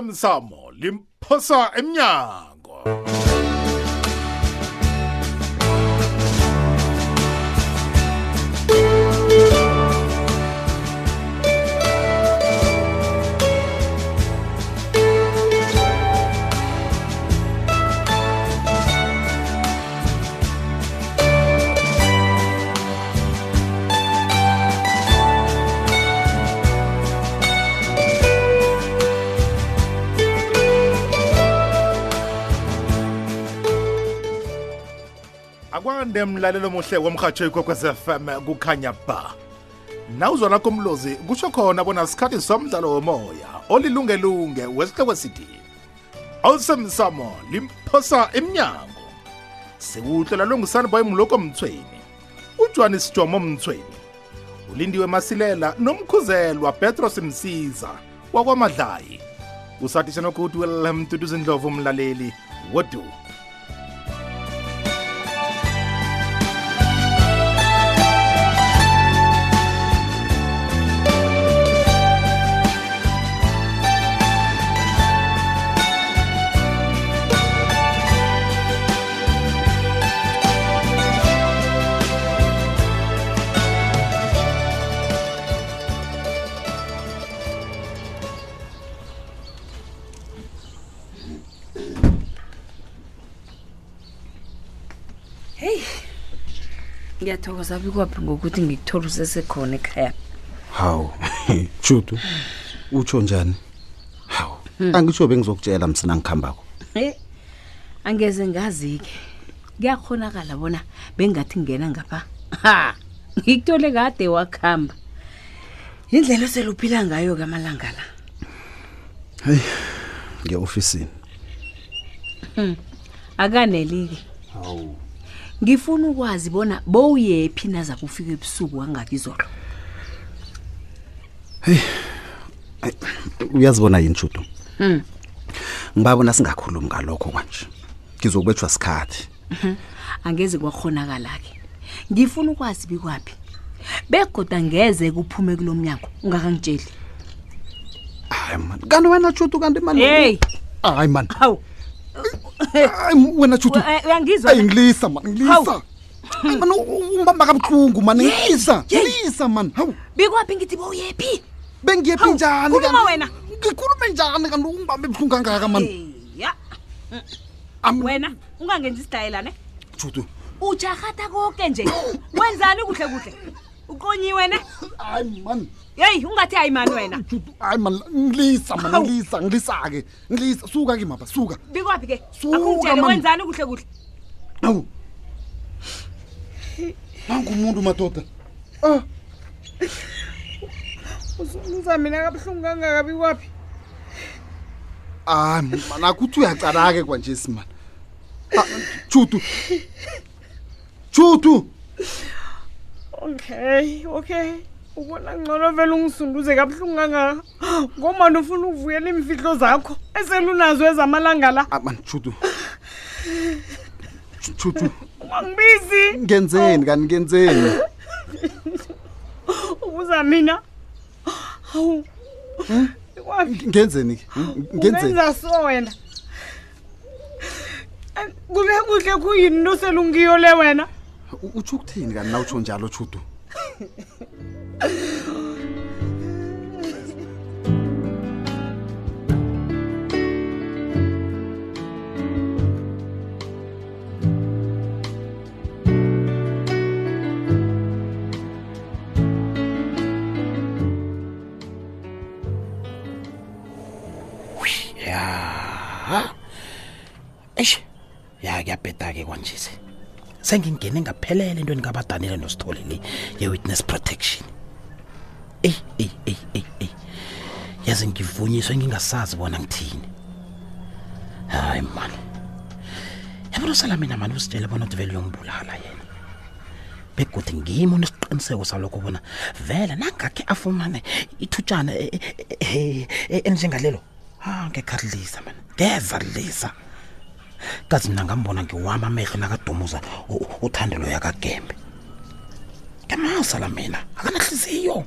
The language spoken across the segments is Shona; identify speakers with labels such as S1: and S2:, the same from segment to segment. S1: awusemsamo limphosa emnyango akwande mlalelo muhle womrhatsho ikwekwez fm kukhanya ba nawuzwa lakho mlozi kusho khona bona sikhathi somdlalo womoya olilungelunge wesihloko sithi awusemsamo limphosa emnyango sikuhlola lwengusanibay boyimloko mthweni ujohanis jomo mthweni ulindiwe masilela nomkhuzelwa petros msiza wakwamadlayi usathi shanokuthi welmduduzi ndlovu mlaleli wodu
S2: heyi ngiyathokoza bikwaphi ngokuthi ngikuthola usesekhona ekhaya
S3: hawu judu utsho njani hawu angisho bengizokutshela msina ngikuhambako
S2: he angeze ngazi-ke kuyakhonakala bona bengathi ngingena ngapha ha ngikuthole kade wakuhamba indlela oseluphila ngayo-ke amalanga la
S3: heyi ngiye-ofisini
S2: akaneli-ke
S3: hawu
S2: ngifuna ukwazi bona bowuyephi naza kufika ebusuku angakizolo
S3: uyazibona yini judu
S2: Hmm.
S3: ngibabona singakhulumi ngalokho kwanje ngizokwetshwa sikhathi
S2: Hm, angeze kwakhonakala-ke ngifuna ukwazi bikwaphi begoda ngeze kuphume kulo mnyango ungakangitsheli
S3: hayi mani kanti wena judu kanti mani
S2: Hey!
S3: hayi mani
S2: hawu
S3: hayi wena judu
S2: Eh, uyangizwa
S3: eyi ngilisa mani ngilisa
S2: Hawu.
S3: Hayi, mani u- umbamba kabuhlungu mani ngilisa ngilisa mani hawu
S2: bikwaphi ngithi bowuyephi
S3: bengiyephi
S2: Hawu,
S3: njani
S2: khuluma
S3: kanti?
S2: wena.
S3: ngikhulume njani kanti umbamba ebuhlungu kangaka mani
S2: ya
S3: Am-
S2: wena ungangenzi isitayela ne
S3: judu
S2: ujarhata konke nje wenzani kuhle kuhle uqonyiwe ne
S3: hayi mani
S2: yeyi ungathi ayimani wena
S3: hayi man ngilisa man
S2: Hawu.
S3: ngilisa ngilisa-ke ngilisa suka ke mapha suka
S2: bikwaphi ke
S3: Suka,
S2: akungitshele
S3: mami.
S2: wenzani kuhle kuhle
S3: awu nangumuntu madoda ah
S4: usungiza mina kabuhlungu kangakabi kwaphi
S3: hayi man akuthi uyacala-ke kwanjesi mani Ah, judu judu
S4: okay okay ubona ngcono vele ungisunduze kabuhlungu kangaka ngomani ufuna ukuvuyela iimfihlo zakho eselunazo ezamalanga la
S3: Ah, man judu Ju- judu
S4: ungangibizi
S3: ngenzeni kani ngenzeni
S4: ubuza mina hawu kwaphi
S3: ngenzeni ke Hm? ngenzeni
S4: ungenza so wena Ay, kube kuhle kuyini into selungiyole wena
S3: U- utsho ukuthini kani na utsho njalo judu
S5: eish ya kuyabheda-ke kwanjesi sengingene ngaphelele entweni kabadanile nosithole le ye-witness protection eyi eyi eyi eyi eyi yaze ngivunyiswe ngingasazi bona ngithini hayi mani yabona usala mina mani usitshele bona uthi vele uyongibulala yena begodi ngimo unesiqiniseko salokho bona vele nangakhe afumane ithutshana e- e- e- e- elinjengalelo ha ngekhalilisa mani ngeza lilisa kazi mna ngambona ngiwama amehlo nakadumuza u- uthando loya kagembe ngamasa la mina akanahliziyo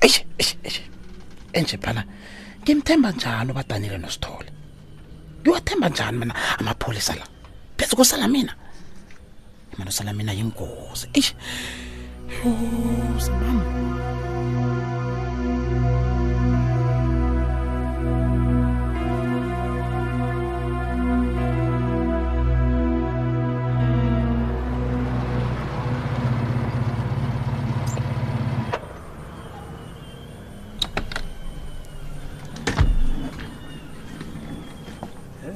S5: eish eish eish enje phana ngimthemba njani ubadanile nosithole ngiwathemba njani mina amapholisa la pheze kusala mina mina usala mina yingozi eish yos mama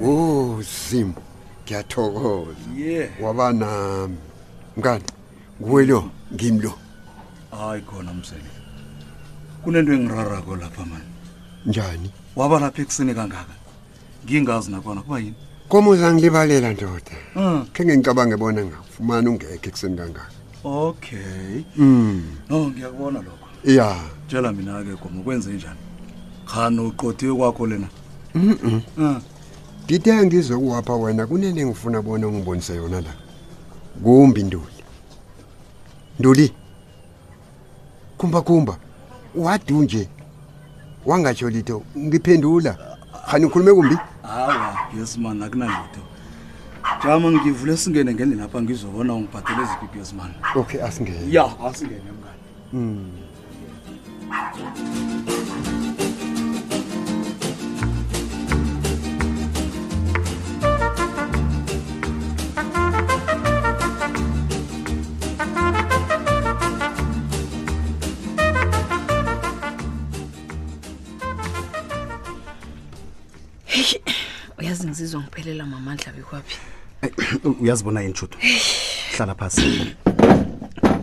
S3: Oh Zim, ngiyathokoza.
S6: Yeah.
S3: Waba nami. Mngani, kuwe lo ngimi lo.
S6: hayi khona msele kunento engirarako lapha mani
S3: Njani?
S6: waba lapha ekuseni kangaka ngingazi nakona kuba yini
S3: Komuza ngilibalela ndoda.
S6: Mm.
S3: Kenge ngicabange bona ngafumana ungekho ekseni kangaka.
S6: okay
S3: Mm.
S6: no ngiyakubona lokho
S3: Yeah.
S6: tshela mina-ke goma kwenze njani khani uqothiwe kwakho lena
S3: Mhm.
S6: um
S3: Ngithe ngizokuwapha wena kunene ngifuna bona ungibonise yona la. Kumbi nduli. Nduli. Kumba kumba. Wadu nje. Wangatsho litho ngiphendula. Khani ukhulume kumbi?
S6: hawa yesimani akunalutho jama ngivule singene ngendlela apha ngizobona ungibhatele eziphi yesimani
S3: Okay asingene.
S6: ya asingene mngani
S3: Mm.
S2: heyi uyazi ngizizwa ngiphelela mamandla bekwaphi
S7: uyazibona yini shudo hlala phasi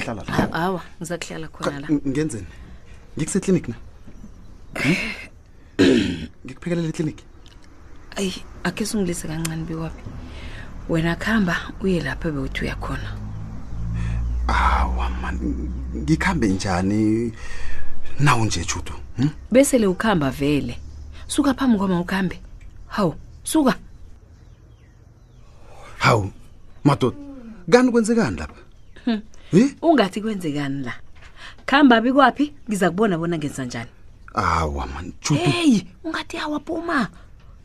S7: hlala la
S2: awa ngizakuhlala khona la
S7: Ka- ng- ngenzeni ngikuseklinikhi na Hmm? ngikuphekelela ekliniki
S2: ayi akhe sungilise kancane bekwaphi wena kuhamba uye lapho bewuthi uyakhona
S7: awa mani ngikuhambe njani nawo nje Hmm? shudo
S2: bese le ukuhamba vele suka phambi kwama ukuhambe hawu suka
S7: hawu madoda kani kwenzekani lapha
S2: Hmm.
S7: Hi?
S2: ungathi kwenzekani la kuhamba bikwaphi ngiza kubona bona ngenza njani
S7: awa mani shudo
S2: heyi ungathi awaphuma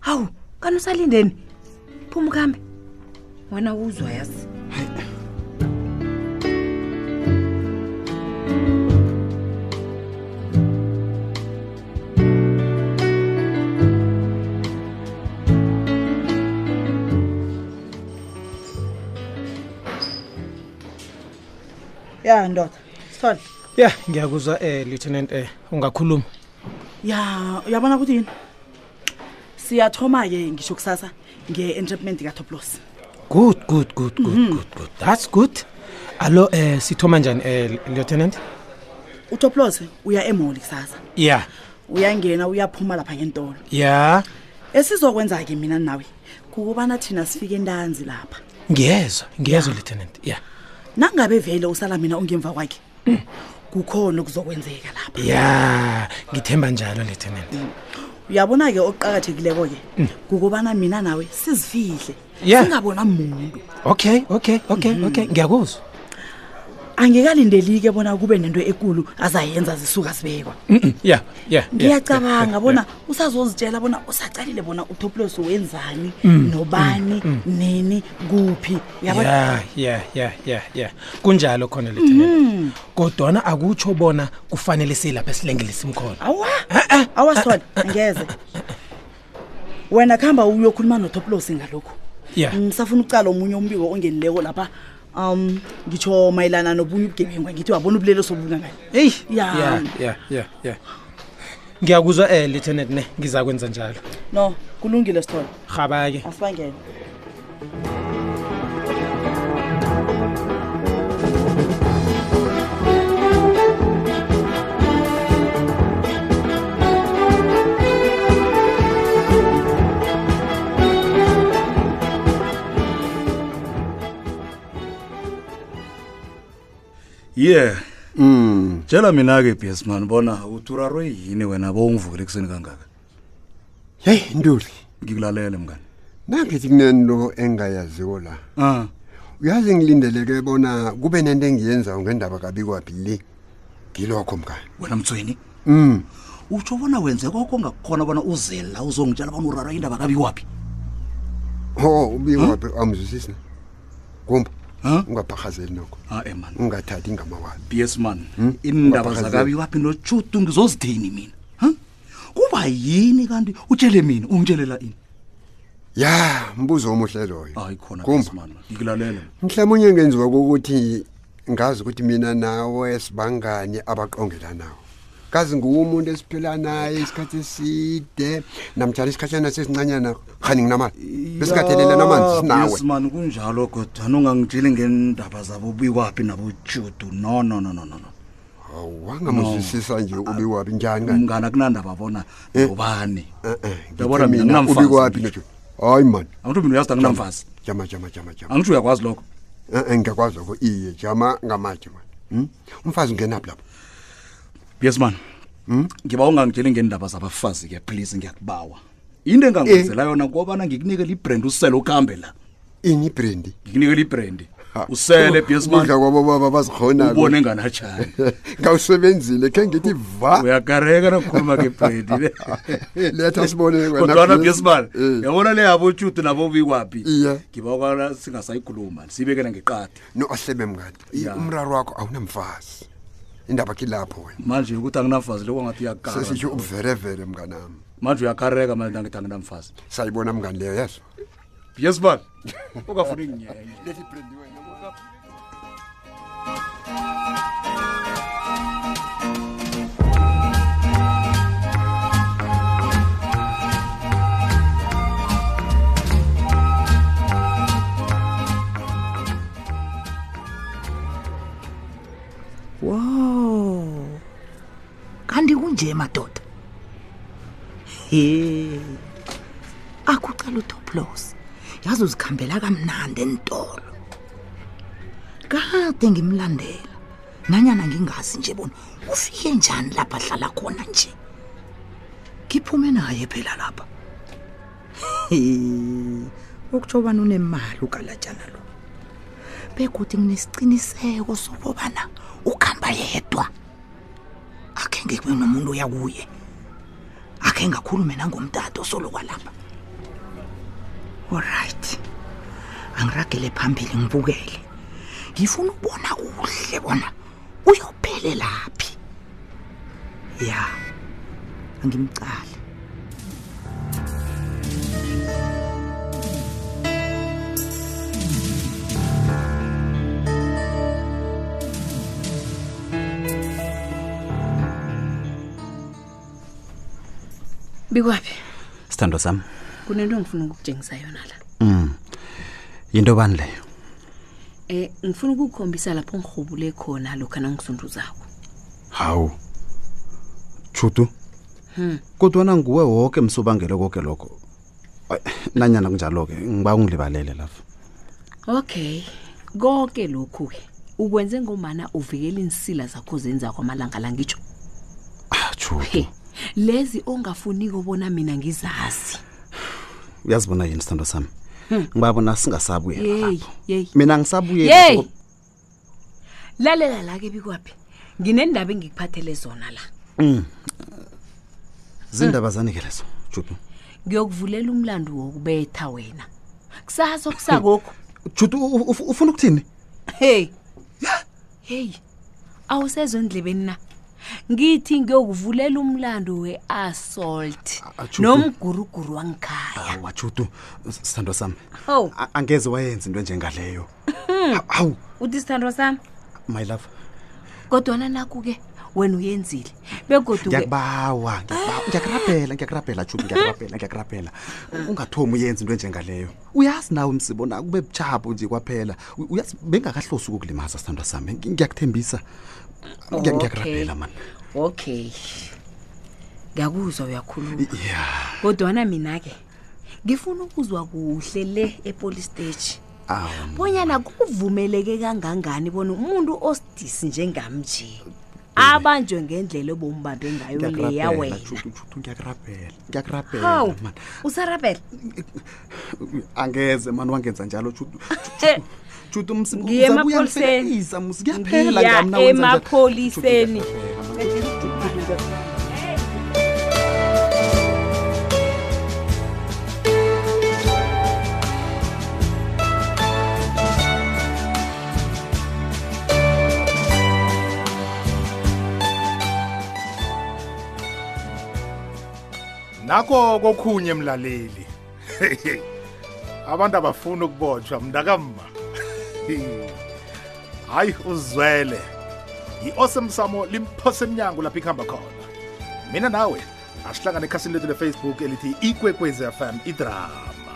S2: hawu kani usalindeni phuma kuhambe wena uzwa yazi
S8: ya ndoda sithole
S9: ya ngiyakuzwa eh lieutenant eh ungakhuluma
S8: ya uyabona ukuthi yini siyathoma-ke ngisho kusasa nge-entrapment katoplos
S9: good good good good
S5: Mhm.
S9: good good that's good allo eh sithoma njani eh lieutenant
S8: utoplos uya emoli kusasa
S9: ya
S8: uyangena uyaphuma lapha ngentolo
S9: ya
S8: esizokwenza-ke mina nawe kukubana thina sifike entanzi lapha
S9: ngiyezwa ngiyezwa lieutenant ya
S8: nangabe vele usala mina ungemva kwakhe kukhona okuzokwenzeka lapha
S9: ya ngithemba njalo lieutenant
S8: uyabona-ke okuqakathekileko-ke
S9: Mm.
S8: kukubana mina nawe sizifihle
S9: Yeah.
S8: singabona muntu
S9: okay okay okay okay
S5: Mhm.
S9: ngiyakuzwa
S8: angikalindeli-ke bona kube nento ekulu azayenza zisuka zibekwa
S9: Mhm, ya ya ya, ya,
S8: ngiyacabanga
S9: ya.
S8: bona usazozitshela bona usacalile bona utoplos wenzani
S9: Mm,
S8: nobani
S9: mm,
S8: nini kuphi uyabona?
S9: ya ya ya ya ya kunjalo khona lieutenant kodwana akutsho bona kufanele silapha esilengele simkhona
S8: awa awa sithole angeze wena kuhamba uyokhuluma notoplos ngalokhu
S9: ya
S8: msafuna ukucala omunye umbiko ongenileko lapha um ngitsho mayelana nobunye ubugebengu ngithi wabona ubulelo sobungangani
S9: eyi
S8: ya
S9: ya ya ya ya ngiyakuzwa eh lieutenant ne ngiza kwenza njalo
S8: no kulungile sithole
S9: rhaba-ke
S8: asibangene
S6: yeah
S3: Mm.
S6: tshela mina-ke bhesman bona uturarwe yini wena bowungivukele ekuseni kangaka
S3: Hey Nduli,
S6: ngikulalele mngani
S3: nangithi kunento engayaziwo la.
S6: Ah.
S3: Uyazi ngilindeleke bona kube nento engiyenzayo ngendaba kabi kwapi le. Ngilokho mngani.
S6: wena mtsweni
S3: Mm.
S6: utsho bona wenze koko ongakukhona bona uzela uzongitshela bona urarwa indaba kabiwaphi
S3: ho ubiwaphi amzwisisi kumba ungabhahazeli nokho
S6: ae man
S3: ungathathi ngamawala
S6: bs man
S3: Hmm?
S6: iindaba
S3: Ungabhahazeli.
S6: zakabiwaphi notshutu ngizozithini mina ha? kuba yini kanti utshele mina ungitshelela ini
S3: ya mbuzo omuhle loyo
S6: hayi khona
S3: Kumba.
S6: BS man ngikulalela
S3: mhlawumunye ngenziwa kokuthi ngazi ukuthi mina nawe sibangani abaqongela nawo kazi nguwe umuntu esiphila naye isikhathi eside namjala isikhatshana sesincanyana khani nginamali besingathelelana amanzi sinawe
S6: man kunjalo kodwana ungangitsheli ngendaba zabo biwaphi nabotshutu no no no no no no.
S3: wangamuzwisisa nje ubiwabi njani Eh?
S6: mngani akunandaba bona ngobani Uyabona mina nginamfazi
S3: ubikwapi nje hayi mani
S6: angithi mina uyazi anginamfazi
S3: jama jama jama jama
S6: angithi uyakwazi lokho
S3: Eh, ngiyakwazi lokho iye jama ngamatshe mani umfazi ungenaphi lapho
S6: yes man
S3: Hmm?
S6: ngiba ungangitsheli ngendaba zabafazi ke please ngiyakubawa into engangikwenzela
S3: Eh.
S6: yona kobana ngikunikele ibrand usele ukuhambe la
S3: ini ibrandi
S6: ngikunikele ibrand usele BS man.
S3: udla kwabobaba bazikhona
S6: ubone nganatshani
S3: ngawusebenzile khe ngithi va
S6: uyakareka nokukhuluma ke brandi
S3: letha sibone wena Eh.
S6: kodwana
S3: Chris.
S6: bsman yabona le yabo utshudu nabo bikwaphi
S3: Iye.
S6: ngiba kwana singasayikhuluma siyibekela ngeqadi
S3: noahlebe mngadi I-
S6: Ya.
S3: umraro wakho awunamfazi indaba kilapho wena
S6: manje ukuthi anginafazi lokho angathi uyakara
S3: sesitsho ubuverevere mnganami
S6: manje uyakareka manje angithi anginamfazi
S3: sayibona mngani leyo yezo
S6: bsman ungafuni nginyenye
S5: wo kanti kunje madoda he akucela utoplos yazi uzikhambela kamnandi entolo kade ngimlandela nanyana ngingazi nje bona ufike njani lapha ahlala khona nje ngiphume naye phela lapha he ukutsho bani unemali ugalatshana lo bekuthi nginesiqiniseko sokobana ukuhamba yedwa akhe ngibe nomuntu oyakuye akhe ngakhulume nangomtato solokwalapha olright angiragele phambili ngibukele ngifuna ukubona kuhle bona uyophelelaphi ya angimcali
S2: bikwaphi
S10: sithando sami
S2: kunento engifuna ukukutshengisa yona la
S10: mm. yinto bani leyo
S2: um ngifuna ukukukhombisa lapho ngirhubule khona lokhu nangisunduzako
S10: hawu chutu
S2: Hmm.
S10: kodwana nguwe woke msubangele koke lokho Ay, nanyana kunjalo-ke ngiba ungilibalele lapho
S2: okay konke lokhu-ke ukwenze ngomana uvikela insila zakho zenzako amalanga la ngitsho
S10: Ah, chutu
S2: lezi ongafuniko bona mina ngizazi
S10: uyazibona yini sithando sami
S2: Hmm.
S10: ngibabona singasabuyela
S2: yeyi yeyi
S10: mina ngisabuyela
S2: yeyi lalela la-ke bikwaphi nginendaba engikuphathele zona la
S10: Mm.
S2: Hmm.
S10: zindaba zanikelezo jutu
S2: ngiyokuvulela umlando wokubetha wena kusasa kusakokho
S10: jutu ufuna ukuthini
S2: heyi heyi awusezondlebeni na ngithi ngiyokuvulela umlando we-assault
S10: Jutu.
S2: nomguruguru wangikhaya
S3: Ah.
S10: awa jutu sithando sami
S2: hawu
S10: a- angeze wayenza into enjengaleyo
S2: Hmm.
S10: hawu
S2: uthi sithando sami
S10: my love
S2: kodwana naku-ke wena uyenzile begoduke
S10: ngiyakubawa ngiyakubawa.
S2: Ah.
S10: ngiyakurabhela ngiyakurabhela jutu ngiyakurabhela ngiyakurabhela
S2: Ah.
S10: ungathomi uyenza into enjengaleyo uyazi nawe msibona kube buchapho nje kwaphela U- uyazi bengakahlosi ukukulimaza sithandwa sami Ngi- ngiyakuthembisa Ngiya- ngiyakurabhela mani
S2: okay ngiyakuzwa uyakhuluma
S10: ya
S2: kodwana mina-ke ngifuna ukuzwa kuhle le epolice stage
S10: awu
S2: bonyana kuvumeleke kangangani bona umuntu osidisi njengami nje abanjwe ngendlela obombambe ngayo leya
S10: ngiyakurabhela
S2: wena
S10: jutu jutu ngiyakurabhela ngiyakurabhela
S2: hawu
S10: mani
S2: usarabhela
S10: angeze mani wangenza njalo jutu jutu
S2: ngiye emapholiseni ngiya emapholiseni
S1: nakho kokhunye mlaleli abantu abafuni ukubotshwa mntakama hayi uzwele i-awesome samo limphose emnyango lapho ikuhamba khona mina nawe asihlangane ekhasini lethu lefacebook elithi ikwekwezi fm idrama